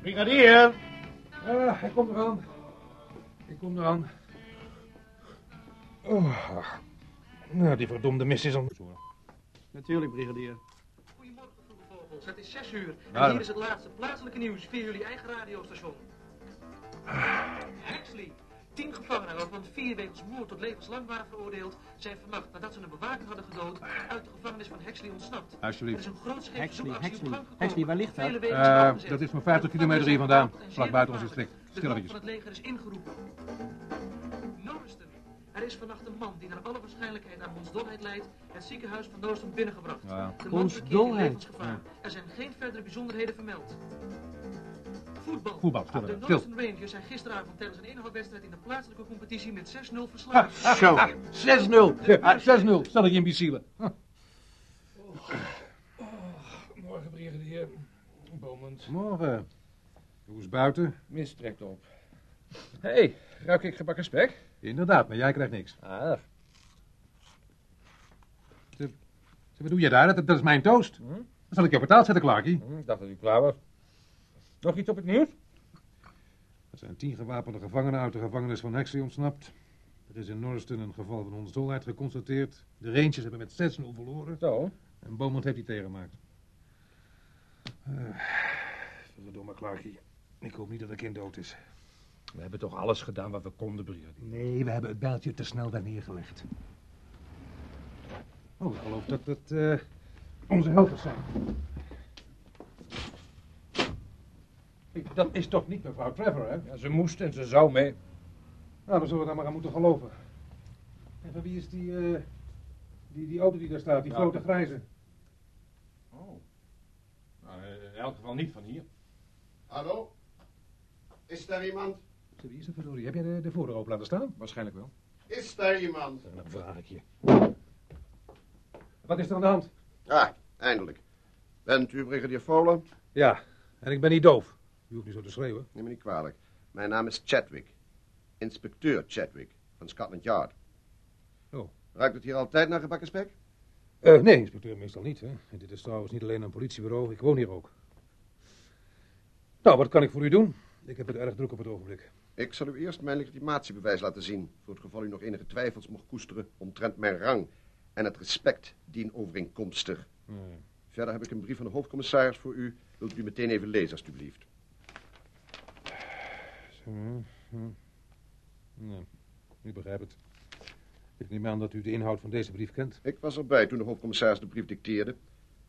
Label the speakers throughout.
Speaker 1: Brigadier.
Speaker 2: Eh,
Speaker 3: Ah, hij komt eraan. Ik kom eraan. Oh, ach. nou, die verdomde mis is om.
Speaker 1: Natuurlijk, brigadier.
Speaker 4: Goedemorgen, vroege vogels. Het is 6 uur.
Speaker 3: Ja.
Speaker 4: En hier is het laatste plaatselijke nieuws via jullie eigen radiostation. Hexley. Tien gevangenen, waarvan vier wegens moord tot levenslang waren veroordeeld, zijn vannacht nadat ze een bewaking hadden gedood, uit de gevangenis van Hexley ontsnapt. Er is
Speaker 3: Alsjeblieft.
Speaker 4: een grootscheepse
Speaker 1: Hexley,
Speaker 4: zoekactie
Speaker 1: Hexley.
Speaker 4: op gang gekomen.
Speaker 1: Hexley, waar ligt dat?
Speaker 4: Vele wegen zijn
Speaker 3: Eh,
Speaker 4: afgezet.
Speaker 3: dat is maar
Speaker 4: De
Speaker 3: 50 kilometer hier vandaan,
Speaker 4: gevangenen zijn
Speaker 3: vlak
Speaker 4: zeer
Speaker 3: buiten ons
Speaker 4: gevaarlijk.
Speaker 3: district.
Speaker 4: De
Speaker 3: Stilletjes.
Speaker 4: hulp van het leger is ingeroepen. Norriston. Er is vannacht een man die naar alle waarschijnlijkheid aan hondsdolheid leidt, het ziekenhuis van Norriston binnengebracht.
Speaker 3: Ja.
Speaker 4: De man verkeert in
Speaker 1: Hondsdolheid.
Speaker 4: levensgevaar. Er zijn geen verdere bijzonderheden vermeld. Voetbal.
Speaker 3: Voetbal, stil
Speaker 4: De
Speaker 3: even, stil.
Speaker 4: Norriston Rangers zijn gisteravond tijdens een inhoudwedstrijd in de plaatselijke competitie met 6-0 verslagen.
Speaker 1: Zo.
Speaker 3: Ah,
Speaker 1: 6-0.
Speaker 3: Ja, 6-0, stel ik je imbecielen. Huh.
Speaker 2: Morgen, brigadier. Bomend.
Speaker 3: Morgen. Hoe is buiten?
Speaker 2: Mist trekt op. Hé, hey, ruik ik gebakken spek?
Speaker 3: Inderdaad, maar jij krijgt niks.
Speaker 2: Ah.
Speaker 3: Zeg, wat doe je daar? Dat, dat is mijn toast.
Speaker 2: Hm?
Speaker 3: Dan zal ik jou betaald zetten, Clarkie.
Speaker 2: Hm, Ik dacht dat u klaar was. Nog iets op het nieuws?
Speaker 3: Er zijn tien gewapende gevangenen uit de gevangenis van Hexley ontsnapt. Er is in Norriston een geval van hondsdolheid geconstateerd. De Rangers hebben met 6-0 verloren.
Speaker 2: Zo.
Speaker 3: En Beaumont heeft die tegengemaakt. Uh, domme Eh, Clarkie. Ik hoop niet dat de kind dood is.
Speaker 2: We hebben toch alles gedaan wat we konden, brigadier.
Speaker 3: Nee, we hebben het bijltje te snel daar neergelegd. Oh, ik geloof dat dat eh, onze helpers zijn. Dat is toch niet mevrouw Trevor, hè?
Speaker 2: Ja, ze moest en ze zou mee.
Speaker 3: Nou, dan zullen we daar maar aan moeten geloven. En van wie is die, eh, die, die auto die daar staat, die
Speaker 5: Nou,
Speaker 3: grote
Speaker 5: dat-
Speaker 3: grijze?
Speaker 5: Oh. Nou, eh, in elk geval niet van hier.
Speaker 6: Hallo? Is daar iemand?
Speaker 3: Zeg, Wie is dat verdorie? Heb jij de, de voordeur open laten staan?
Speaker 5: Waarschijnlijk wel.
Speaker 6: Is daar iemand?
Speaker 3: Dan vraag ik je. Wat is er aan de hand?
Speaker 6: Ah, eindelijk. Bent u brigadier Volen?
Speaker 3: Ja, en ik ben niet doof. Je hoeft niet zo te schreeuwen.
Speaker 6: Neem me niet kwalijk. Mijn naam is Chadwick. Inspecteur Chadwick van Scotland Yard.
Speaker 3: Oh.
Speaker 6: Ruikt het hier altijd naar gebakken spek?
Speaker 3: Eh, nee, inspecteur, meestal niet. Hè. En Dit is trouwens niet alleen een politiebureau, ik woon hier ook. Nou, wat kan ik voor u doen? Ik heb het erg druk op het ogenblik.
Speaker 6: Ik zal u eerst mijn legitimatiebewijs laten zien. Voor het geval u nog enige twijfels mocht koesteren omtrent mijn rang en het respect dien overeenkomstig. Verder heb ik een brief van de hoofdcommissaris voor u. Wilt u die meteen even lezen, alstublieft?
Speaker 3: Mhm, Nee, ik begrijp het. Ik neem aan dat u de inhoud van deze brief kent.
Speaker 6: Ik was erbij toen de hoofdcommissaris de brief dicteerde.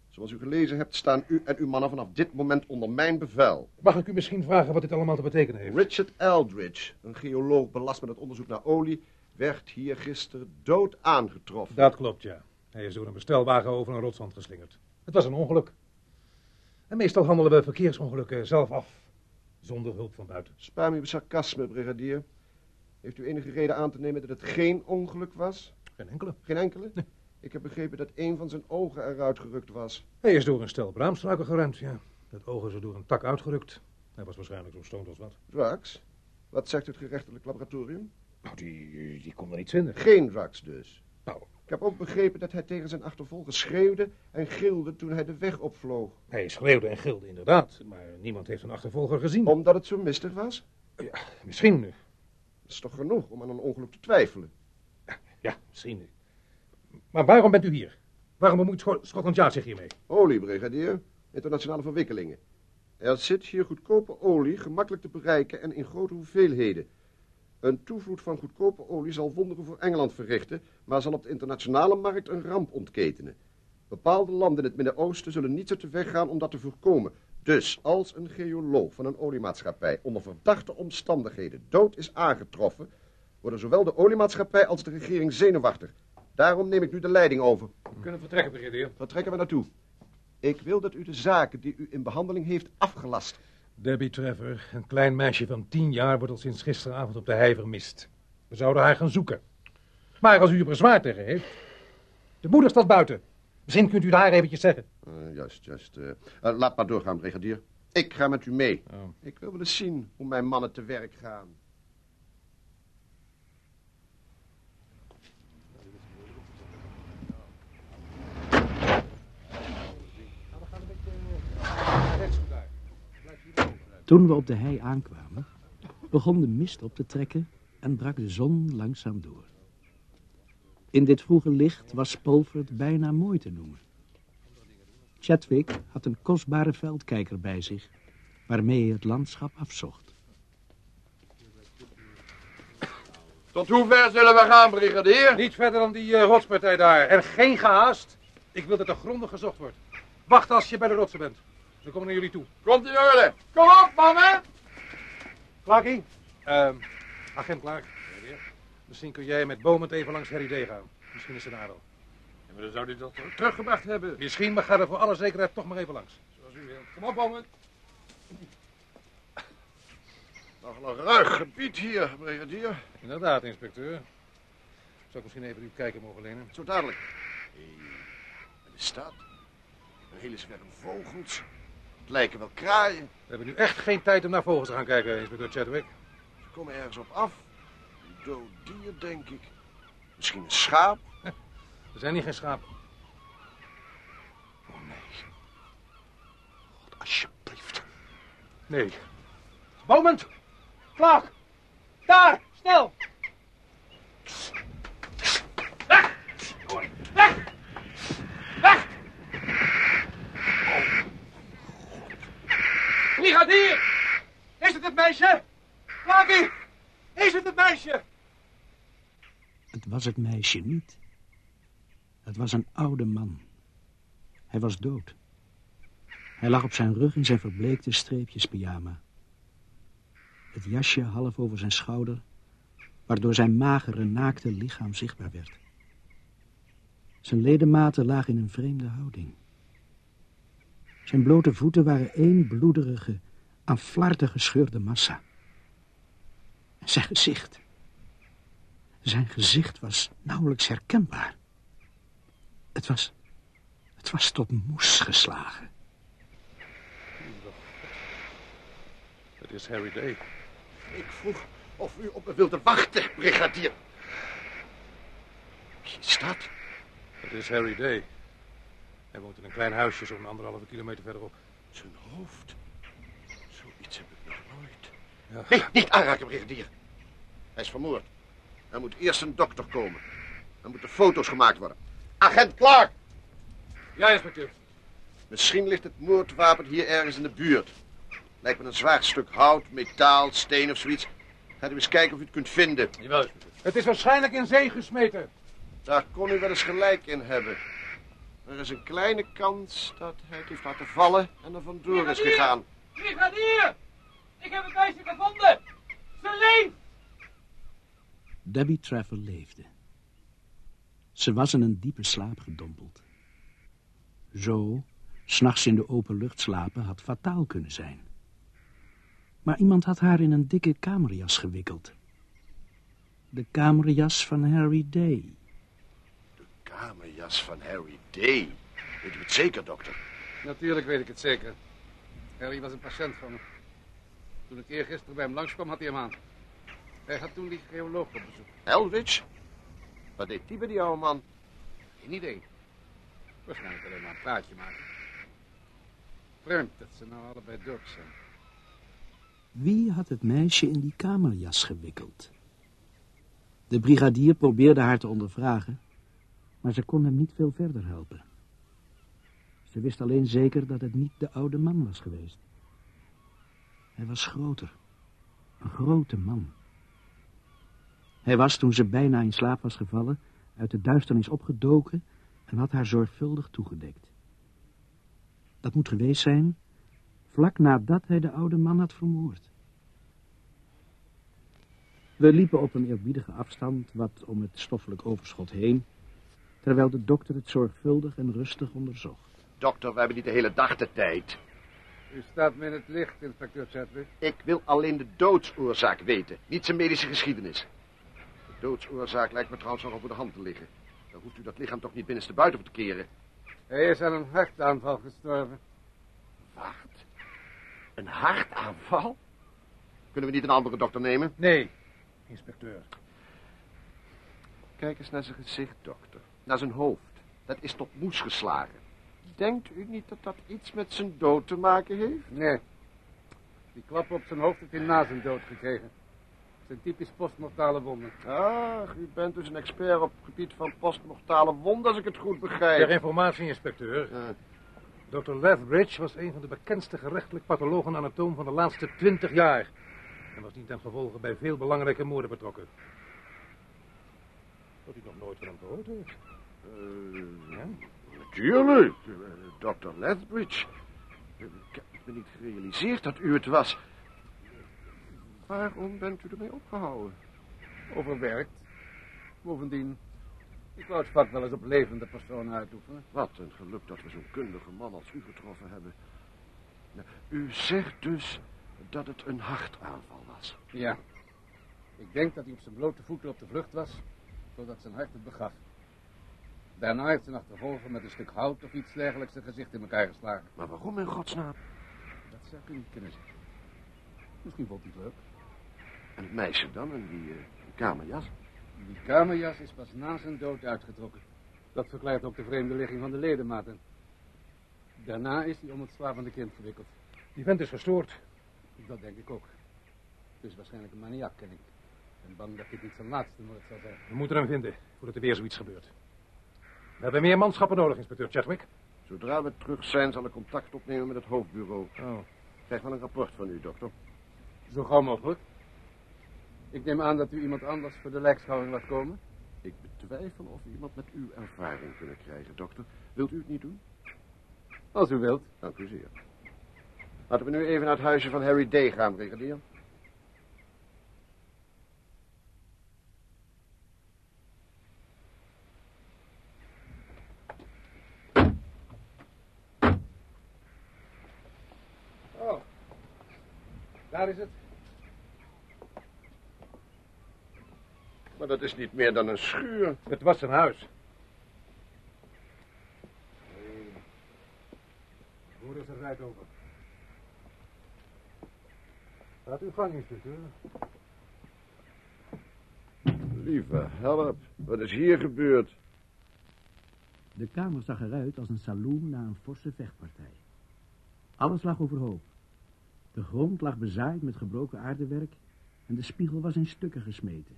Speaker 6: Zoals u gelezen hebt, staan u en uw mannen vanaf dit moment onder mijn bevel.
Speaker 3: Mag ik u misschien vragen wat dit allemaal te betekenen heeft?
Speaker 6: Richard Eldridge, een geoloog belast met het onderzoek naar olie, werd hier gisteren dood aangetroffen.
Speaker 3: Dat klopt, ja. Hij is door een bestelwagen over een rotswand geslingerd. Het was een ongeluk. En meestal handelen we verkeersongelukken zelf af, zonder hulp van buiten.
Speaker 6: Spaar me uw sarcasme, brigadier. Heeft u enige reden aan te nemen dat het geen ongeluk was?
Speaker 3: Geen enkele.
Speaker 6: Geen enkele? Ik heb begrepen dat een van zijn ogen eruit gerukt was.
Speaker 3: Hij is door een stel braamstruiken geremd, ja. Het oog is er door een tak uitgerukt. Hij was waarschijnlijk zo stoned als wat.
Speaker 6: Drugs? Wat zegt het gerechtelijk laboratorium?
Speaker 3: Nou, die, die kon er niet vinden.
Speaker 6: Geen drugs dus.
Speaker 3: Nou.
Speaker 6: Ik heb ook begrepen dat hij tegen zijn achtervolger schreeuwde en gilde toen hij de weg opvloog.
Speaker 3: Hij schreeuwde en gilde, inderdaad. Maar niemand heeft een achtervolger gezien.
Speaker 6: Omdat het zo mistig was?
Speaker 3: Misschien nu.
Speaker 6: Dat is toch genoeg om aan een ongeluk te twijfelen?
Speaker 3: Ja, misschien nu. Maar waarom bent u hier? Waarom bemoeit Scho- Scotland Yard zich hiermee?
Speaker 6: Olie, brigadier. Internationale verwikkelingen. Er zit hier goedkope olie, gemakkelijk te bereiken en in grote hoeveelheden. Een toevloed van goedkope olie zal wonderen voor Engeland verrichten, maar zal op de internationale markt een ramp ontketenen. Bepaalde landen in het Midden-Oosten zullen niet uit de weg gaan om dat te voorkomen. Dus als een geoloog van een oliemaatschappij onder verdachte omstandigheden dood is aangetroffen, worden zowel de oliemaatschappij als de regering zenuwachtig. Daarom neem ik nu de leiding over.
Speaker 2: We kunnen vertrekken, brigadier.
Speaker 6: Waar trekken we naartoe? Ik wil dat u de zaken die u in behandeling heeft afgelast.
Speaker 3: Debbie Trevor, een klein meisje van tien jaar, wordt al sinds gisteravond op de hei vermist. We zouden haar gaan zoeken. Maar als u er bezwaar tegen heeft... De moeder staat buiten. Misschien kunt u daar eventjes zeggen.
Speaker 6: juist, juist. eh. Eh, laat maar doorgaan, brigadier. Ik ga met u mee.
Speaker 3: Oh.
Speaker 6: Ik wil wel eens zien hoe mijn mannen te werk gaan.
Speaker 3: Rechts vandaar. Blijf hier
Speaker 7: Toen we op de hei aankwamen, begon de mist op te trekken en brak de zon langzaam door. In dit vroege licht was Spolvert bijna mooi te noemen. Chadwick had een kostbare veldkijker bij zich, waarmee hij het landschap afzocht.
Speaker 6: Tot hoe ver zullen we gaan, brigadier?
Speaker 3: Niet verder dan die eh, rotspartij daar. En geen gehaast. Ik wil dat er grondig gezocht wordt. Wacht als je bij de rotsen bent. Dan komen we naar jullie toe.
Speaker 6: Komt in orde. Kom op, mannen!
Speaker 3: Clarkie? Ehm, agent Clark. Meneer. Misschien kun jij met Bomen even langs Harry D gaan. Misschien is er daar al.
Speaker 5: Ja, maar dan zou die dat toch...
Speaker 6: Teruggebracht hebben.
Speaker 3: Misschien, maar ga er voor alle zekerheid toch maar even langs.
Speaker 5: Zoals u wilt. Kom op, Bomen.
Speaker 6: Nog wel een ruig gebied hier, brigadier.
Speaker 3: Inderdaad, inspecteur. Zou ik misschien even uw kijker mogen lenen?
Speaker 6: Zo dadelijk. Hey, de stad. Een hele zwerm vogels. Het lijken wel kraaien.
Speaker 3: We hebben nu echt geen tijd om naar vogels te gaan kijken, inspecteur Chadwick.
Speaker 6: Ze komen ergens op af. Een dood dier, denk ik. Misschien een schaap.
Speaker 3: Er zijn hier geen schapen.
Speaker 6: Oh nee. God, alsjeblieft.
Speaker 3: Nee.
Speaker 1: Moment! Vlak! Daar! Snel! Weg! Weg! Weg! Oh. Brigadier! Is het het meisje? Vlakie! Is het het meisje?
Speaker 7: Het was het meisje niet. Het was een oude man. Hij was dood. Hij lag op zijn rug in zijn verbleekte streepjespyjama. Het jasje half over zijn schouder, waardoor zijn magere, naakte lichaam zichtbaar werd. Zijn ledematen lagen in een vreemde houding. Zijn blote voeten waren één bloederige, aan flarden gescheurde massa. En zijn gezicht... Zijn gezicht was nauwelijks herkenbaar. Het was... Het was tot moes geslagen.
Speaker 3: Het is Harry Day.
Speaker 6: Ik vroeg of u op me wilde wachten, brigadier. Wie is dat?
Speaker 3: Het is Harry Day. Hij woont in een klein huisje zo'n anderhalve kilometer verderop.
Speaker 6: Zijn hoofd. Zoiets heb ik nog nooit.
Speaker 3: Ja.
Speaker 6: Nee, niet aanraken, brigadier. Hij is vermoord. Er moet eerst een dokter komen. Er moeten foto's gemaakt worden. Agent Clark!
Speaker 3: Ja, inspecteur.
Speaker 6: Misschien ligt het moordwapen hier ergens in de buurt. Lijkt me een zwaar stuk hout, metaal, steen of zoiets. Ga eens kijken of u het kunt vinden.
Speaker 5: Jawel, inspecteur.
Speaker 3: Het is waarschijnlijk in zee gesmeten.
Speaker 6: Daar kon u wel eens gelijk in hebben. Er is een kleine kans dat hij het heeft laten vallen en er vandoor is gegaan.
Speaker 1: Brigadier! Ik heb het meisje gevonden! Ze leeft!
Speaker 7: Debbie Travel leefde. Ze was in een diepe slaap gedompeld. Zo, s'nachts in de open lucht slapen, had fataal kunnen zijn. Maar iemand had haar in een dikke kamerjas gewikkeld. De kamerjas van Harry Day.
Speaker 6: Kamerjas van Harry Day. Weet u het zeker, dokter?
Speaker 2: Natuurlijk weet ik het zeker. Harry was een patiënt van me. Toen ik eergisteren bij hem langskwam, had hij hem aan. Hij gaat toen die geoloog op bezoek.
Speaker 6: Helwich? Wat deed die bij die oude man?
Speaker 2: Geen idee. Waarschijnlijk alleen maar een praatje maken. Vreemd dat ze nou allebei dood zijn.
Speaker 7: Wie had het meisje in die kamerjas gewikkeld? De brigadier probeerde haar te ondervragen, maar ze kon hem niet veel verder helpen. Ze wist alleen zeker dat het niet de oude man was geweest. Hij was groter. Een grote man. Hij was, toen ze bijna in slaap was gevallen, uit de duisternis opgedoken en had haar zorgvuldig toegedekt. Dat moet geweest zijn vlak nadat hij de oude man had vermoord. We liepen op een eerbiedige afstand wat om het stoffelijk overschot heen, terwijl de dokter het zorgvuldig en rustig onderzocht.
Speaker 6: Dokter, we hebben niet de hele dag de tijd.
Speaker 2: U staat me in het licht, inspecteur Chadwick.
Speaker 6: Ik wil alleen de doodsoorzaak weten, niet zijn medische geschiedenis. De doodsoorzaak lijkt me trouwens nogal voor de hand te liggen. Dan hoeft u dat lichaam toch niet binnenstebuiten op te keren.
Speaker 2: Hij is aan een hartaanval gestorven.
Speaker 6: Wacht. Een hartaanval? Kunnen we niet een andere dokter nemen?
Speaker 3: Nee, inspecteur.
Speaker 6: Kijk eens naar zijn gezicht, dokter. Naar zijn hoofd. Dat is tot moes geslagen. Denkt u niet dat dat iets met zijn dood te maken heeft?
Speaker 2: Nee. Die klap op zijn hoofd heeft hij na zijn dood gekregen. Het zijn typisch postmortale wonden.
Speaker 6: Ach, u bent dus een expert op het gebied van postmortale wonden, als ik het goed
Speaker 3: Ter
Speaker 6: begrijp.
Speaker 3: informatie, inspecteur.
Speaker 6: Eh,
Speaker 3: Dr. Lethbridge was een van de bekendste gerechtelijk pathologen anatoom van de laatste twintig jaar. En was niet ten gevolge bij veel belangrijke moorden betrokken. Wat ik nog nooit van hem gehoord heb.
Speaker 6: eh,
Speaker 3: Ja?
Speaker 6: natuurlijk, eh, Dr. Lethbridge. Eh, Ik heb me niet gerealiseerd dat u het was. Waarom bent u ermee opgehouden?
Speaker 2: Overwerkt. Bovendien, ik wou het vak wel eens op levende personen uitoefenen.
Speaker 6: Wat een geluk dat we zo'n kundige man als u getroffen hebben. Nou, u zegt dus dat het een hartaanval was.
Speaker 2: Ja. Ik denk dat hij op zijn blote voeten op de vlucht was, totdat zijn hart het begaf. Daarna heeft zijn achtervolger met een stuk hout of iets dergelijks zijn gezicht in elkaar geslagen.
Speaker 6: Maar waarom in godsnaam?
Speaker 2: Dat zou ik u niet kunnen zeggen. Misschien vond hij het leuk.
Speaker 6: En het meisje dan en die eh, kamerjas?
Speaker 2: Die kamerjas is pas na zijn dood uitgetrokken. Dat verklaart ook de vreemde ligging van de ledematen. Daarna is hij om het slapende kind gewikkeld.
Speaker 3: Die vent is gestoord.
Speaker 2: Dat denk ik ook. Het is waarschijnlijk een maniak, ken ik. Ik ben bang dat dit niet zijn laatste moord zal zijn.
Speaker 3: We moeten hem vinden, voordat er weer zoiets gebeurt. We hebben meer manschappen nodig, inspecteur Chadwick.
Speaker 6: Zodra we terug zijn, zal ik contact opnemen met het hoofdbureau.
Speaker 3: Oh.
Speaker 6: Ik krijg wel een rapport van u, dokter.
Speaker 2: Zo gauw mogelijk. Ik neem aan dat u iemand anders voor de lijkschouwing laat komen.
Speaker 6: Ik betwijfel of we iemand met uw ervaring kunnen krijgen, dokter. Wilt u het niet doen?
Speaker 2: Als u wilt.
Speaker 6: Dank u zeer. Nou, Laten we nu even naar het huisje van Harry Day gaan, brigadier.
Speaker 2: Oh, daar is het.
Speaker 6: Maar dat is niet meer dan een schuur.
Speaker 3: Het was zijn huis. Hoor eens een rijd over. Gaat uw gang, inspecteur.
Speaker 6: Lieve help, wat is hier gebeurd?
Speaker 7: De kamer zag eruit als een saloon na een forse vechtpartij. Alles lag overhoop. De grond lag bezaaid met gebroken aardewerk en de spiegel was in stukken gesmeten.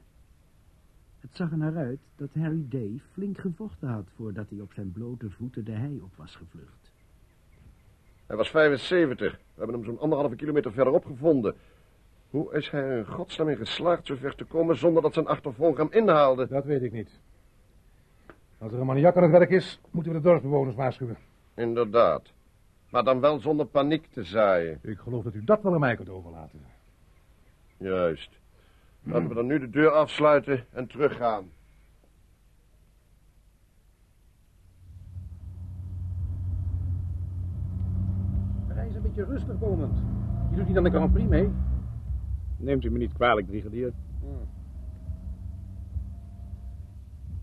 Speaker 7: Het zag er naar uit dat Harry Day flink gevochten had voordat hij op zijn blote voeten de hei op was gevlucht.
Speaker 6: Hij was 75. We hebben hem zo'n anderhalve kilometer verderop gevonden. Hoe is hij er in godsnaam in geslaagd zo ver te komen zonder dat zijn achtervolger hem inhaalde?
Speaker 3: Dat weet ik niet. Als er een maniak aan het werk is, moeten we de dorpsbewoners waarschuwen.
Speaker 6: Inderdaad. Maar dan wel zonder paniek te zaaien.
Speaker 3: Ik geloof dat u dat wel aan mij kunt overlaten.
Speaker 6: Juist. Laten we dan nu de deur afsluiten en teruggaan.
Speaker 3: Hij is een beetje rustig, Bowman. Je doet niet aan de Grand Prix mee.
Speaker 8: Neemt u me niet kwalijk, brigadier.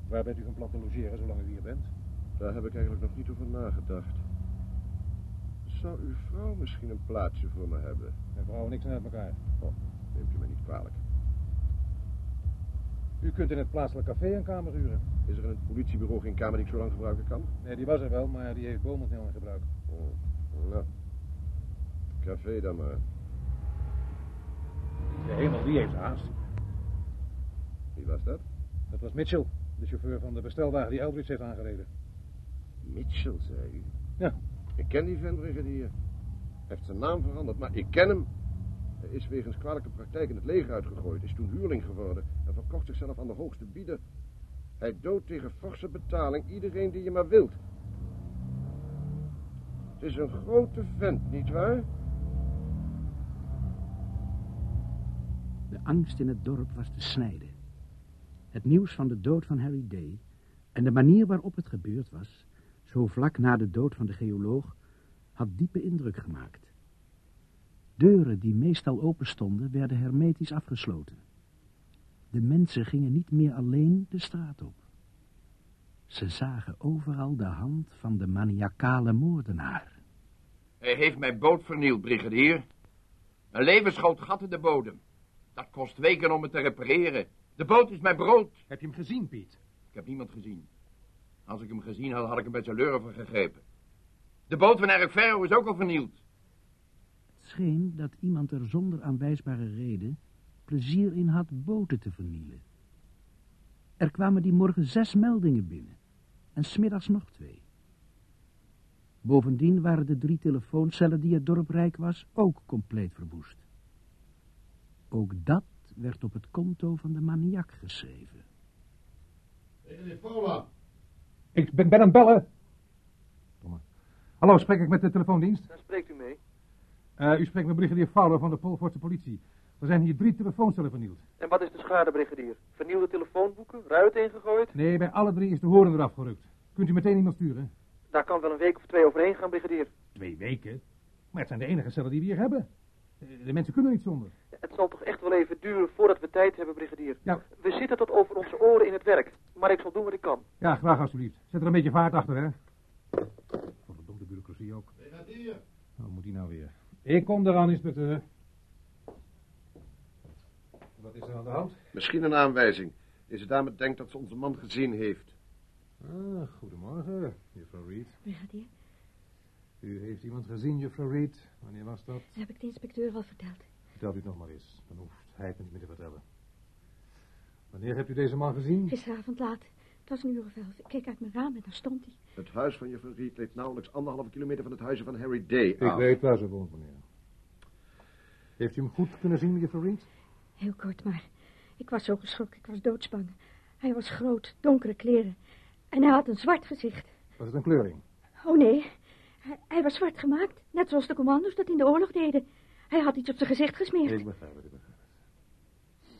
Speaker 3: Waar bent u van plan te logeren zolang u hier bent?
Speaker 6: Daar heb ik eigenlijk nog niet over nagedacht. Zou uw vrouw misschien een plaatsje voor me hebben?
Speaker 3: We vrouwen niks aan uit elkaar.
Speaker 6: Neemt u me niet kwalijk.
Speaker 3: U kunt in het plaatselijk café een kamer huren.
Speaker 6: Is er in het politiebureau geen kamer die ik zo lang gebruiken kan?
Speaker 3: Nee, die was er wel, maar die heeft Bowman heel in gebruik.
Speaker 6: Oh, nou. Café dan maar.
Speaker 3: De hemel, die heeft haast.
Speaker 6: Wie was dat?
Speaker 3: Dat was Mitchell, de chauffeur van de bestelwagen die Eldridge heeft aangereden.
Speaker 6: Mitchell, zei u?
Speaker 3: Ja.
Speaker 6: Ik ken die vent, brigadier. Hij heeft zijn naam veranderd, maar ik ken hem. Hij is wegens kwalijke praktijk in het leger uitgegooid, is toen huurling geworden en verkocht zichzelf aan de hoogste bieder. Hij doodt tegen forse betaling iedereen die je maar wilt. Het is een grote vent, nietwaar?
Speaker 7: De angst in het dorp was te snijden. Het nieuws van de dood van Harry Day en de manier waarop het gebeurd was, zo vlak na de dood van de geoloog, had diepe indruk gemaakt. Deuren die meestal open stonden, werden hermetisch afgesloten. De mensen gingen niet meer alleen de straat op. Ze zagen overal de hand van de maniacale moordenaar.
Speaker 9: Hij heeft mijn boot vernield, brigadier. Een levensgroot gat in de bodem. Dat kost weken om het te repareren. De boot is mijn brood.
Speaker 3: Heb je hem gezien, Piet?
Speaker 9: Ik heb niemand gezien. Als ik hem gezien had, had ik hem bij zijn lurven gegrepen. De boot van Eric Ferro is ook al vernield.
Speaker 7: scheen dat iemand er zonder aanwijsbare reden plezier in had boten te vernielen. Er kwamen die morgen zes meldingen binnen en smiddags nog twee. Bovendien waren de drie telefooncellen die het dorp rijk was ook compleet verwoest. Ook dat werd op het konto van de maniak geschreven.
Speaker 3: Ik ben, ben aan het bellen. Domme. Hallo, spreek ik met de telefoondienst?
Speaker 4: Daar spreekt u mee.
Speaker 3: Eh, u spreekt met brigadier Fowler van de Polvoortse politie. Er zijn hier drie telefooncellen vernield.
Speaker 4: En wat is de schade, brigadier? Vernielde telefoonboeken, ruit ingegooid?
Speaker 3: Nee, bij alle drie is de horen eraf gerukt. Kunt u meteen iemand sturen?
Speaker 4: Daar kan wel een week of twee overheen gaan, brigadier.
Speaker 3: Twee weken? Maar het zijn de enige cellen die we hier hebben. Eh, De mensen kunnen niet zonder.
Speaker 4: Het zal toch echt wel even duren voordat we tijd hebben, brigadier.
Speaker 3: Ja.
Speaker 4: We zitten tot over onze oren in het werk, maar ik zal doen wat ik kan.
Speaker 3: Ja, graag alsjeblieft. Zet er een beetje vaart achter, hè. Wat een domme bureaucratie ook. Hoe moet die nou weer? Ik kom eraan, inspecteur. Wat is er aan de hand?
Speaker 6: Misschien een aanwijzing. Deze dame denkt dat ze onze man gezien heeft.
Speaker 3: Ah, goedemorgen, juffrouw Reed.
Speaker 10: Brigadier,
Speaker 3: U heeft iemand gezien, juffrouw Reed. Wanneer was dat?
Speaker 10: dat heb ik de inspecteur al verteld.
Speaker 3: Vertelt u het nog maar eens. Dan hoeft hij het me niet meer te vertellen. Wanneer hebt u deze man gezien?
Speaker 10: Gisteravond laat. Het was een uur of elf. Ik keek uit mijn raam en daar stond hij.
Speaker 6: Het huis van juffrouw Reed leed nauwelijks anderhalve kilometer van het huis van Harry Ah. Day
Speaker 3: Ik
Speaker 6: af.
Speaker 3: weet waar ze woont, meneer. Heeft u hem goed kunnen zien, juffrouw Reed?
Speaker 10: Heel kort maar. Ik was zo geschrokken. Ik was doodsbang. Hij was groot, donkere kleren. En hij had een zwart gezicht.
Speaker 3: Was het een kleuring?
Speaker 10: Oh nee, hij, hij was zwart gemaakt. Net zoals de commando's dat in de oorlog deden. Hij had iets op zijn gezicht gesmeerd.
Speaker 3: Ik begrijp het, ik begrijp het.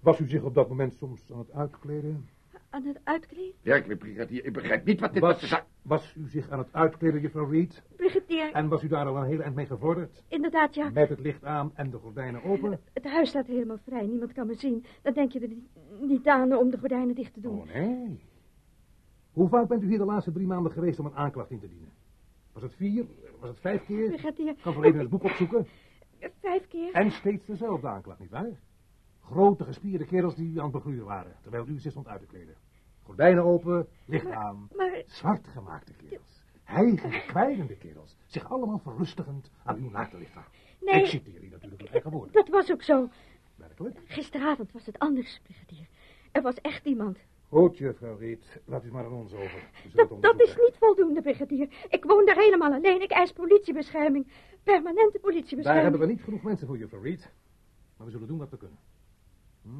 Speaker 3: Was u zich op dat moment soms aan het uitkleden?
Speaker 10: Aan het uitkleden.
Speaker 6: Werkelijk, brigadier, ik begrijp niet wat dit was.
Speaker 3: Was, was u zich aan het uitkleden, juffrouw Reed?
Speaker 10: Brigadier,
Speaker 3: En was u daar al een heel eind mee gevorderd?
Speaker 10: inderdaad ja.
Speaker 3: Met het licht aan en de gordijnen open?
Speaker 10: Het huis staat helemaal vrij. Niemand kan me zien. Dan denk je er niet- niet aan om de gordijnen dicht te doen.
Speaker 3: Oh, nee. Hoe vaak bent u hier de laatste drie maanden geweest om een aanklacht in te dienen? Was het vier? Was het vijf keer?
Speaker 10: Brigadier, eh,
Speaker 3: Ik kan wel even Eh, het boek opzoeken.
Speaker 10: vijf keer.
Speaker 3: En steeds dezelfde aanklacht, nietwaar? Grote gespierde kerels die u aan het begluren waren, terwijl u zich stond uit te kleden. Gordijnen open, licht aan.
Speaker 10: Maar
Speaker 3: Zwart gemaakte kerels. Hijgende, kwijlende kerels. Zich allemaal verrustigend aan uw naakte lichaam.
Speaker 10: Nee.
Speaker 3: Ik citeer u natuurlijk uw eigen woorden.
Speaker 10: dat was ook zo.
Speaker 3: Werkelijk.
Speaker 10: Gisteravond was het anders, brigadier. Er was echt iemand.
Speaker 3: Goed, juffrouw Reed. Laat u maar aan ons over. We zullen het
Speaker 10: Dat, dat is
Speaker 3: onderzoeken.
Speaker 10: niet voldoende, brigadier. Ik woon daar helemaal alleen. Ik eis politiebescherming. Permanente
Speaker 3: Daar hebben
Speaker 10: politiebescherming.
Speaker 3: we niet genoeg mensen voor, juffrouw Reed. Maar we zullen doen wat we kunnen. Hm?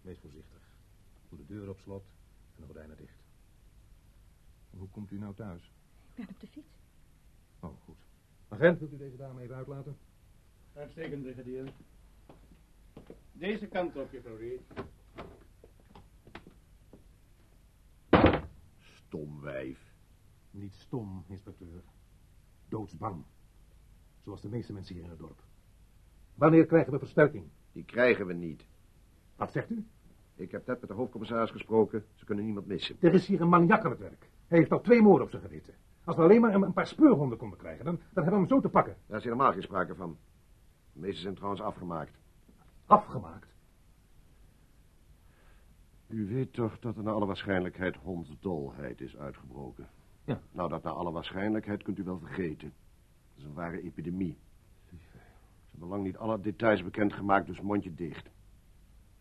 Speaker 3: Wees voorzichtig. Doe de deur op slot en de gordijnen dicht. En hoe komt u nou thuis?
Speaker 10: Ik ben op de fiets.
Speaker 3: Oh, goed. Agent, wilt u deze dame even uitlaten?
Speaker 8: Uitstekend, brigadier. Deze kant op, juffrouw Reed.
Speaker 6: Stom wijf.
Speaker 3: Niet stom, inspecteur. Doodsbang. Zoals de meeste mensen hier in het dorp. Wanneer krijgen we versterking?
Speaker 6: Die krijgen we niet.
Speaker 3: Wat zegt u?
Speaker 6: Ik heb net met de hoofdcommissaris gesproken. Ze kunnen niemand missen.
Speaker 3: Er is hier een maniak aan het werk. Hij heeft al twee moorden op zijn geweten. Als we alleen maar een- een paar speurhonden konden krijgen, dan, dan hebben we hem zo te pakken.
Speaker 6: Daar is helemaal geen sprake van. De meeste zijn trouwens afgemaakt.
Speaker 3: Afgemaakt.
Speaker 6: U weet toch dat er naar alle waarschijnlijkheid hondsdolheid is uitgebroken?
Speaker 3: Ja.
Speaker 6: Nou, dat naar alle waarschijnlijkheid kunt u wel vergeten. Dat is een ware epidemie. Ze hebben lang niet alle details bekendgemaakt, dus mondje dicht.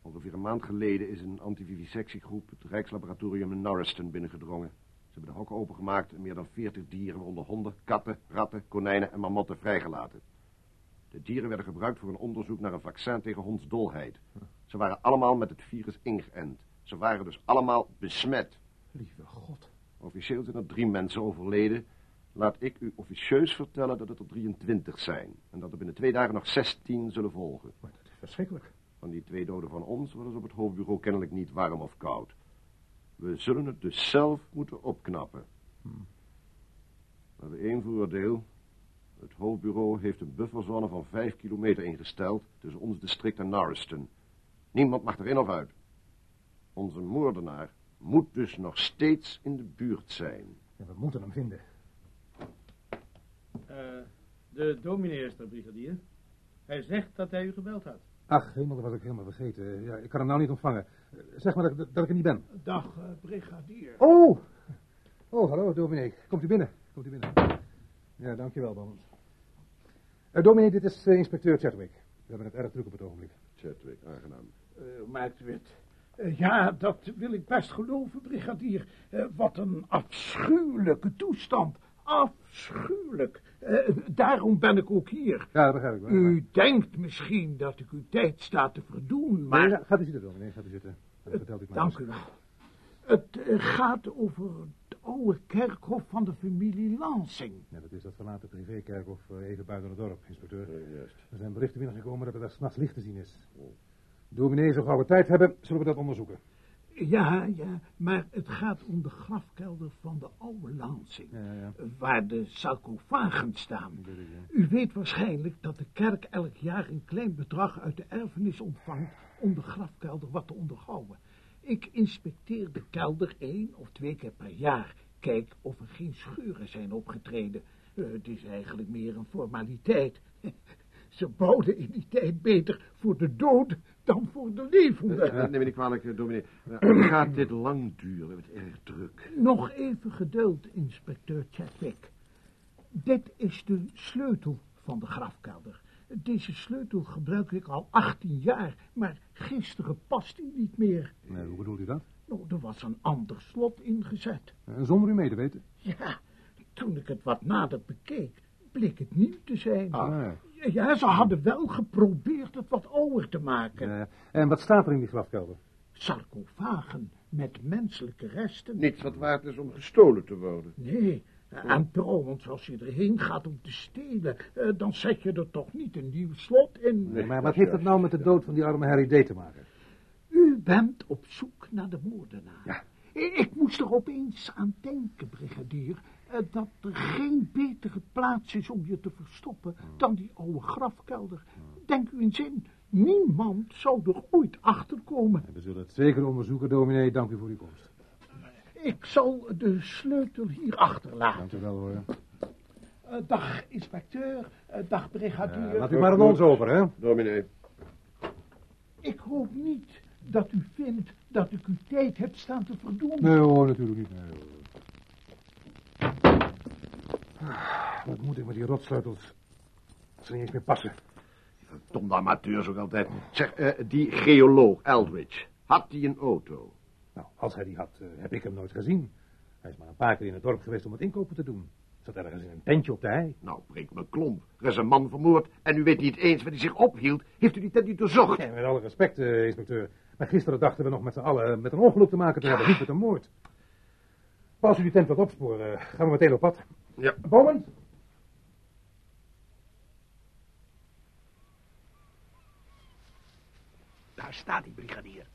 Speaker 6: Ongeveer een maand geleden is een antivivisectiegroep het Rijkslaboratorium in Norriston binnengedrongen. Ze hebben de hokken opengemaakt en meer dan 40 dieren, onder honden, katten, ratten, konijnen en mammotten vrijgelaten. De dieren werden gebruikt voor een onderzoek naar een vaccin tegen hondsdolheid. Ze waren allemaal met het virus ingeënt. Ze waren dus allemaal besmet.
Speaker 3: Lieve god.
Speaker 6: Officieel zijn er drie mensen overleden. Laat ik u officieus vertellen dat het er 23 zijn. En dat er binnen twee dagen nog 16 zullen volgen.
Speaker 3: Maar dat is verschrikkelijk.
Speaker 6: Van die twee doden van ons worden ze op het hoofdbureau kennelijk niet warm of koud. We zullen het dus zelf moeten opknappen. Hmm. We hebben één voordeel. Het hoofdbureau heeft een bufferzone van vijf kilometer ingesteld tussen ons district en Norriston. Niemand mag erin of uit. Onze moordenaar moet dus nog steeds in de buurt zijn.
Speaker 3: En we moeten hem vinden.
Speaker 8: Eh, de dominee is er, brigadier. Hij zegt dat hij u gebeld had.
Speaker 3: Ach, helemaal, dat was ik helemaal vergeten. Ja, ik kan hem nou niet ontvangen. Eh, Zeg maar dat, ik- dat ik er niet ben.
Speaker 8: Dag, eh, brigadier.
Speaker 3: Oh! Oh, hallo, dominee. Komt u binnen. Komt u binnen. Ja, dankjewel, Band. Eh, dominee, dit is eh, inspecteur Chadwick. We hebben het erg druk op het ogenblik.
Speaker 6: Chadwick, aangenaam.
Speaker 7: Eh, maar het werd... Eh, ja, dat wil ik best geloven, brigadier. Eh, wat een afschuwelijke toestand. Afschuwelijk. Eh, daarom ben ik ook hier.
Speaker 3: Ja, dat begrijp ik wel.
Speaker 7: U denkt misschien dat ik uw tijd sta te verdoen, maar...
Speaker 3: Nee, gaat u zitten, dominee, gaat u zitten. Dan vertelt Eh, u het maar
Speaker 7: Dank u
Speaker 3: eens.
Speaker 7: wel. Het eh, gaat over het oude kerkhof van de familie Lansing.
Speaker 3: Ja, dat is dat verlaten privékerkhof eh, even buiten het dorp, inspecteur. Er zijn berichten binnengekomen dat er daar s'nachts licht te zien is. Dominee, zo gauw we tijd hebben, zullen we dat onderzoeken.
Speaker 7: Ja, ja, maar het gaat om de grafkelder van de oude Lansing, waar de sarcofagen staan. U weet waarschijnlijk dat de kerk elk jaar een klein bedrag uit de erfenis ontvangt om de grafkelder wat te onderhouden. Ik inspecteer de kelder één of twee keer per jaar, kijk of er geen scheuren zijn opgetreden. Eh, het is eigenlijk meer een formaliteit. Ze bouwden in die tijd beter voor de dood dan voor de levenden.
Speaker 6: Eh, Neem me niet kwalijk, eh, dominee. Maar gaat dit lang duren? Het is erg druk.
Speaker 7: Nog even geduld, inspecteur Chadwick. Dit is de sleutel van de grafkelder. Deze sleutel gebruik ik al 18 jaar, maar gisteren past die niet meer.
Speaker 3: Nee, hoe bedoelt u dat?
Speaker 7: Nou, er was een ander slot ingezet.
Speaker 3: Eh, zonder u mee te weten.
Speaker 7: Ja, toen ik het wat nader bekeek, bleek het nieuw te zijn.
Speaker 3: Ah.
Speaker 7: Ja, ja, ze hadden wel geprobeerd het wat ouder te maken.
Speaker 3: Eh, en wat staat er in die grafkelder?
Speaker 7: Sarcofagen met menselijke resten.
Speaker 6: Niets wat waard is om gestolen te worden.
Speaker 7: Nee, en trouwens, als je erheen gaat om te stelen, eh, dan zet je er toch niet een nieuw slot in.
Speaker 3: Nee, maar wat heeft dat nou met de dood van die arme Harry D. te maken?
Speaker 7: U bent op zoek naar de moordenaar. I- Ik moest er opeens aan denken, brigadier, eh, dat er geen betere plaats is om je te verstoppen dan die oude grafkelder. Denk u eens in, niemand zou er ooit achterkomen.
Speaker 3: We zullen het zeker onderzoeken, dominee. Dank u voor uw komst.
Speaker 7: Ik zal de sleutel hier achterlaten.
Speaker 3: Dank u wel, hoor.
Speaker 7: Eh, dag, inspecteur. Eh, dag, brigadier.
Speaker 3: Laat u maar aan ons over, hè?
Speaker 6: Dominee.
Speaker 7: Ik hoop niet dat u vindt dat ik uw tijd heb staan te verdoen.
Speaker 3: Nee hoor, natuurlijk niet. Nee, hoor. Ah, Wat moet ik met die rotsleutels? Ze niet eens meer passen.
Speaker 6: Tom amateurs ook altijd. Zeg, eh, die geoloog, Eldridge, had die een auto?
Speaker 3: Nou, als hij die had, eh, heb ik hem nooit gezien. Hij is maar een paar keer in het dorp geweest om wat inkopen te doen. Zat ergens in een tentje op de hei.
Speaker 6: Nou, breek me klomp. Er is een man vermoord en u weet niet eens waar hij zich ophield. Heeft u die tent niet doorzocht?
Speaker 3: Nee, met alle respect, eh, inspecteur. Maar gisteren dachten we nog met z'n allen eh, met een ongeluk te maken te hebben, niet met een moord. Maar als u die tent wat opsporen, eh, gaan we meteen op pad.
Speaker 6: Ja.
Speaker 3: Bomen?
Speaker 11: Daar staat die brigadier.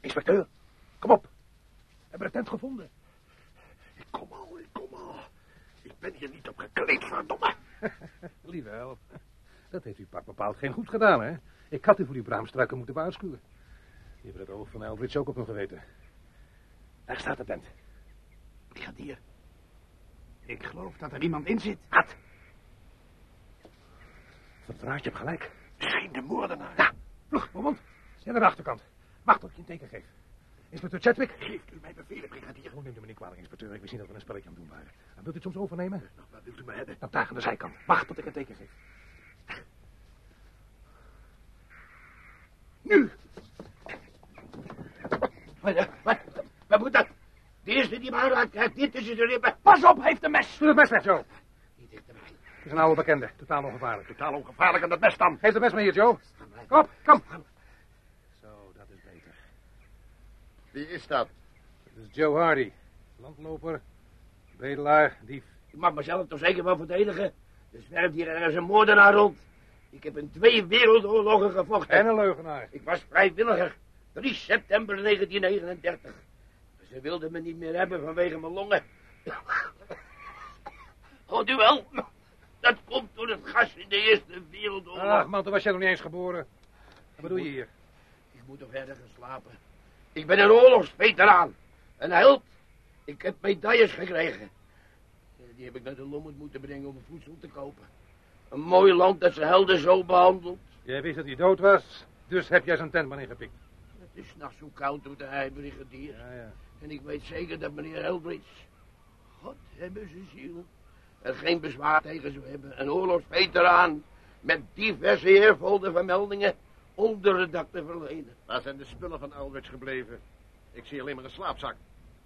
Speaker 11: Inspecteur, kom op. We hebben de tent gevonden. Kom al, kom al. Ik ben hier niet op gekleed, verdomme.
Speaker 3: Lieve help. Dat heeft u pak bepaald geen goed gedaan, hè? Ik had u voor die braamstruiken moeten waarschuwen. Die hebben het oog van Eldridge ook op hem geweten. Daar staat de tent.
Speaker 11: Brigadier, ik geloof dat er iemand in zit. Wat?
Speaker 3: Verdraad, je hebt gelijk.
Speaker 11: Misschien de moordenaar.
Speaker 3: Ja, vlug, Beaumont. Snel naar de achterkant. Wacht tot ik je een teken geef. Inspecteur Chadwick.
Speaker 11: Geeft u mij bevelen, brigadier.
Speaker 3: Oh, neemt u me niet kwalijk, inspecteur. Ik wist niet dat we een spelletje aan het doen waren. En wilt u het soms overnemen?
Speaker 11: Nou, wat wilt u me hebben?
Speaker 3: Dan daar aan de zijkant. Wacht tot ik een teken geef.
Speaker 11: Nu! Wat, wat, wat moet dat? De eerste die me aanraakt, krijgt dit tussen de ribben. Pas op, hij heeft een mes.
Speaker 3: Doe het mes weg, Joe.
Speaker 11: Niet dichterbij.
Speaker 3: Het is een oude bekende. Totaal ongevaarlijk.
Speaker 11: Totaal ongevaarlijk aan dat mes dan.
Speaker 3: Geef het mes maar hier, Joe. Kom op, kom. Zo, dat is beter.
Speaker 6: Wie is dat?
Speaker 3: Dat is Joe Hardy. Landloper, bedelaar, dief.
Speaker 11: Ik mag mezelf toch zeker wel verdedigen. Er zwerft hier ergens een moordenaar rond. Ik heb in twee wereldoorlogen gevochten.
Speaker 3: En een leugenaar.
Speaker 11: Ik was vrijwilliger. 3 september 1939. Maar Ze wilden me niet meer hebben vanwege mijn longen. Hoort u wel? Dat komt door het gas in de Eerste Wereldoorlog.
Speaker 3: Ach, man, toen was jij nog niet eens geboren. Wat bedoel je hier?
Speaker 11: Ik moet toch ergens slapen. Ik ben een oorlogsveteraan. Een held. Ik heb medailles gekregen. Eh, Die heb ik naar de Lommerd moeten brengen om voedsel te kopen. Een mooi land dat zijn helden zo behandelt.
Speaker 3: Jij wist dat hij dood was, dus heb jij zijn tent maar ingepikt.
Speaker 11: Het is 's nachts zo koud door de heibrigadier.
Speaker 3: Ja, ja.
Speaker 11: En ik weet zeker dat meneer Eldridge... God hebben ze zielen.
Speaker 6: er geen bezwaar tegen zou hebben. Een oorlogsveteraan met diverse eervolle vermeldingen onderdak te verlenen.
Speaker 7: Waar zijn de spullen van Alberts gebleven? Ik zie alleen maar een slaapzak.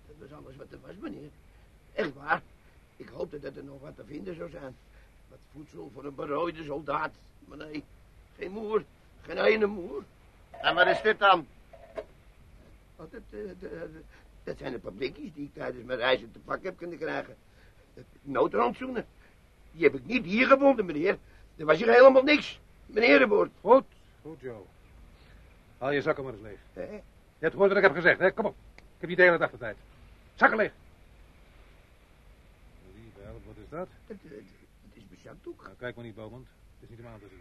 Speaker 6: Dat was alles wat er was, meneer. Echt waar. Ik hoopte dat er nog wat te vinden zou zijn. Wat voedsel voor een berooide soldaat. Maar nee, geen moer. Geen ene moer.
Speaker 7: En wat is dit dan?
Speaker 6: Oh, dat, eh, dat, dat zijn de publiekjes die ik tijdens mijn reizen te pak heb kunnen krijgen. Eh, Noodrandzoenen. Die heb ik niet hier gevonden, meneer. Er was hier helemaal niks. Meneer de Boer.
Speaker 3: Goed, goed Joe. Haal je zakken maar eens leeg.
Speaker 6: Hè?
Speaker 3: Je hebt gehoord wat ik heb gezegd, hè? Kom op. Ik heb niet de hele dag de tijd. Zakken leeg. Lieve help, wat is dat?
Speaker 6: Het, het, het is mijn zakdoek.
Speaker 3: Nou, kijk maar niet, Bowman. Het is niet om aan te zien.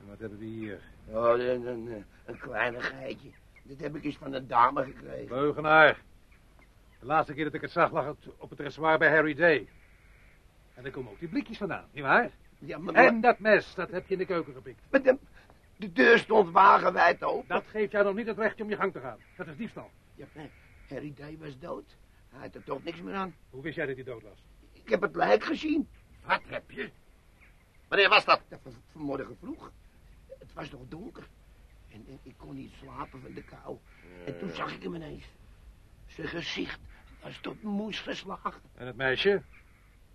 Speaker 3: En wat hebben we hier?
Speaker 6: Oh, een, een, eh, een kleinigheidje. Dit heb ik eens van een dame gekregen.
Speaker 3: Leugenaar. De laatste keer dat ik het zag lag het op het dressoir bij Harry Day. En daar komen ook die blikjes vandaan, nietwaar?
Speaker 6: Ja, maar...
Speaker 3: En dat mes, dat heb je in de keuken gepikt.
Speaker 6: Maar de, de deur stond wagenwijd open.
Speaker 3: Dat geeft jou nog niet het recht om je gang te gaan. Dat is diefstal.
Speaker 6: Ja, eh, Harry Day was dood. Hij had er toch niks meer aan.
Speaker 3: Hoe wist jij dat hij dood was?
Speaker 6: Ik heb het lijk gezien.
Speaker 7: Wat heb je? Wanneer was dat?
Speaker 6: Ja, van, vanmorgen vroeg. Het was nog donker. En, en ik kon niet slapen van de kou. En
Speaker 7: Eh.
Speaker 6: toen zag ik hem ineens. Zijn gezicht was tot moes geslagen.
Speaker 3: En het meisje?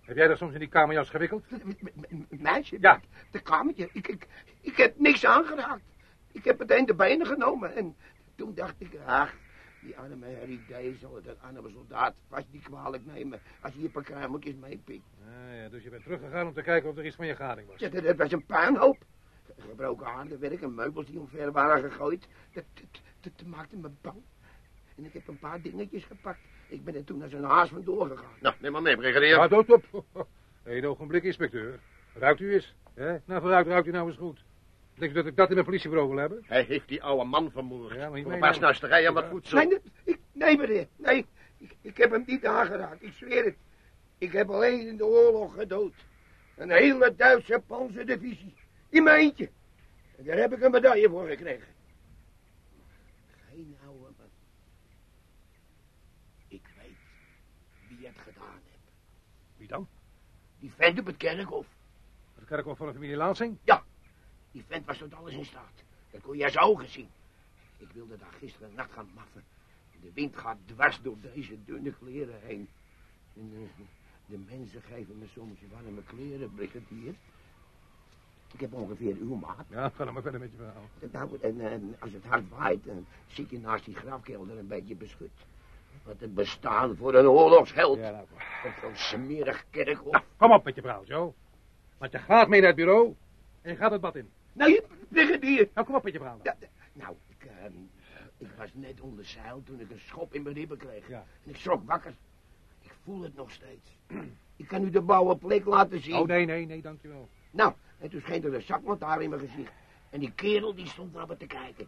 Speaker 3: Heb jij dat soms in die kamerjas gewikkeld?
Speaker 6: Meisje? Ja. De kamertje. Ik, ik, ik heb niks aangeraakt. Ik heb meteen de benen genomen. En toen dacht ik, ach, die arme Harry Day zal het een arme soldaat vast niet kwalijk nemen als hij een paar kruimeltjes meepikt.
Speaker 3: Ah, ja, dus je bent teruggegaan om te kijken of er iets van je gading was.
Speaker 6: Ja, dat, dat was een puinhoop. Gebroken aardewerk en meubels die omver waren gegooid. Dat, dat, dat, dat maakte me bang. En ik heb een paar dingetjes gepakt. Ik ben er toen als een haas vandoor gegaan.
Speaker 7: Nou, neem maar mee, brigadier.
Speaker 3: Ja, dood op. Eén ogenblik, inspecteur. Ruikt u eens? Hè? Nou, vooruit ruikt u nou eens goed. Denk je dat ik dat in mijn politiebureau wil hebben?
Speaker 7: Hij heeft die oude man vermoord.
Speaker 3: Ja, maar niet
Speaker 7: Voor een
Speaker 3: mee,
Speaker 7: paar
Speaker 3: nou.
Speaker 7: snuisterij en wat
Speaker 3: Ja.
Speaker 7: voedsel.
Speaker 6: Nee, nee, ik, nee meneer, nee. Ik, ik heb hem niet aangeraakt, ik zweer het. Ik heb alleen in de oorlog gedood. Een hele Duitse panzerdivisie. In mijn eentje. En daar heb ik een medaille voor gekregen. Geen oude man. Nou, eh, Ik weet wie het gedaan heeft.
Speaker 3: Wie dan?
Speaker 6: Die vent op het kerkhof.
Speaker 3: Het kerkhof van de familie Laansing?
Speaker 6: Die vent was tot alles in staat. Dat kon jij zijn ogen zien. Ik wilde daar gisteren nacht gaan maffen. De wind gaat dwars door deze dunne kleren heen. En, eh, de mensen geven me soms warme kleren, brigadier. Ik heb ongeveer uw maat.
Speaker 3: Ja, ga dan maar verder met je verhaal.
Speaker 6: Nou, en, en als het hard waait, dan zit je naast die grafkelder een beetje beschut. Wat een bestaan voor een oorlogsheld.
Speaker 3: Ja, nou,
Speaker 6: Op zo'n smerig kerkhof.
Speaker 3: Kom op met je verhaal, Joe. Want je gaat mee naar het bureau en je gaat het bad in.
Speaker 6: Nee, brigadier.
Speaker 3: Nou, kom op met je verhaal.
Speaker 6: Ja, nou, ik, ehm, ik was net onder zeil toen ik een schop in mijn ribben kreeg.
Speaker 3: Ja.
Speaker 6: En ik schrok wakker. Ik voel het nog steeds. Ik kan u de blauwe plek laten zien.
Speaker 3: Oh, nee, nee, nee, dankjewel.
Speaker 6: Nou, en toen scheen er een zaklantaarn in mijn gezicht. En die kerel die stond naar me te kijken.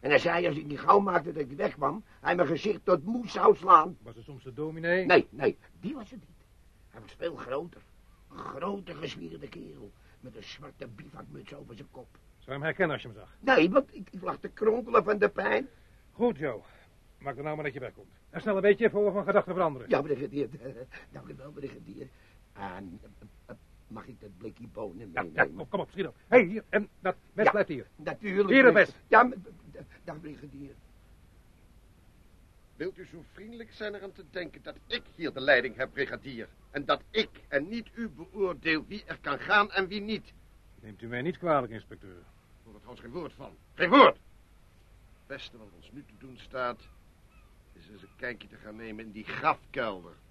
Speaker 6: En hij zei als ik niet gauw maakte dat ik wegkwam, hij mijn gezicht tot moes zou slaan.
Speaker 3: Was er soms de dominee?
Speaker 6: Nee, nee, die was het niet. Hij was veel groter. Een grote gespierde kerel. Met een zwarte bivakmuts over zijn kop.
Speaker 3: Zou je hem herkennen als je hem zag?
Speaker 6: Nee, want ik, ik lag te kronkelen van de pijn.
Speaker 3: Goed, Joe. Maak er nou maar dat je wegkomt. En snel een beetje voor we van gedachten veranderen.
Speaker 6: Ja, brigadier. eh, Dank u wel, brigadier. En, eh, eh, mag ik dat blikje bonen
Speaker 3: Ja,
Speaker 6: meenemen?
Speaker 3: ja, kom, kom op, schiet op. Hé, hey, hier, en dat mes
Speaker 6: Ja.
Speaker 3: blijft hier.
Speaker 6: Natuurlijk.
Speaker 3: Hier het
Speaker 6: brig-
Speaker 3: mes.
Speaker 6: Ja, maar- d- dag, brigadier.
Speaker 7: Wilt u zo vriendelijk zijn eraan te denken dat ik hier de leiding heb, brigadier? En dat ik en niet u beoordeel wie er kan gaan en wie niet?
Speaker 3: Neemt u mij niet kwalijk, inspecteur.
Speaker 7: Ik hoor er trouwens geen woord van. Geen woord! Het beste wat ons nu te doen staat, is eens een kijkje te gaan nemen in die grafkelder.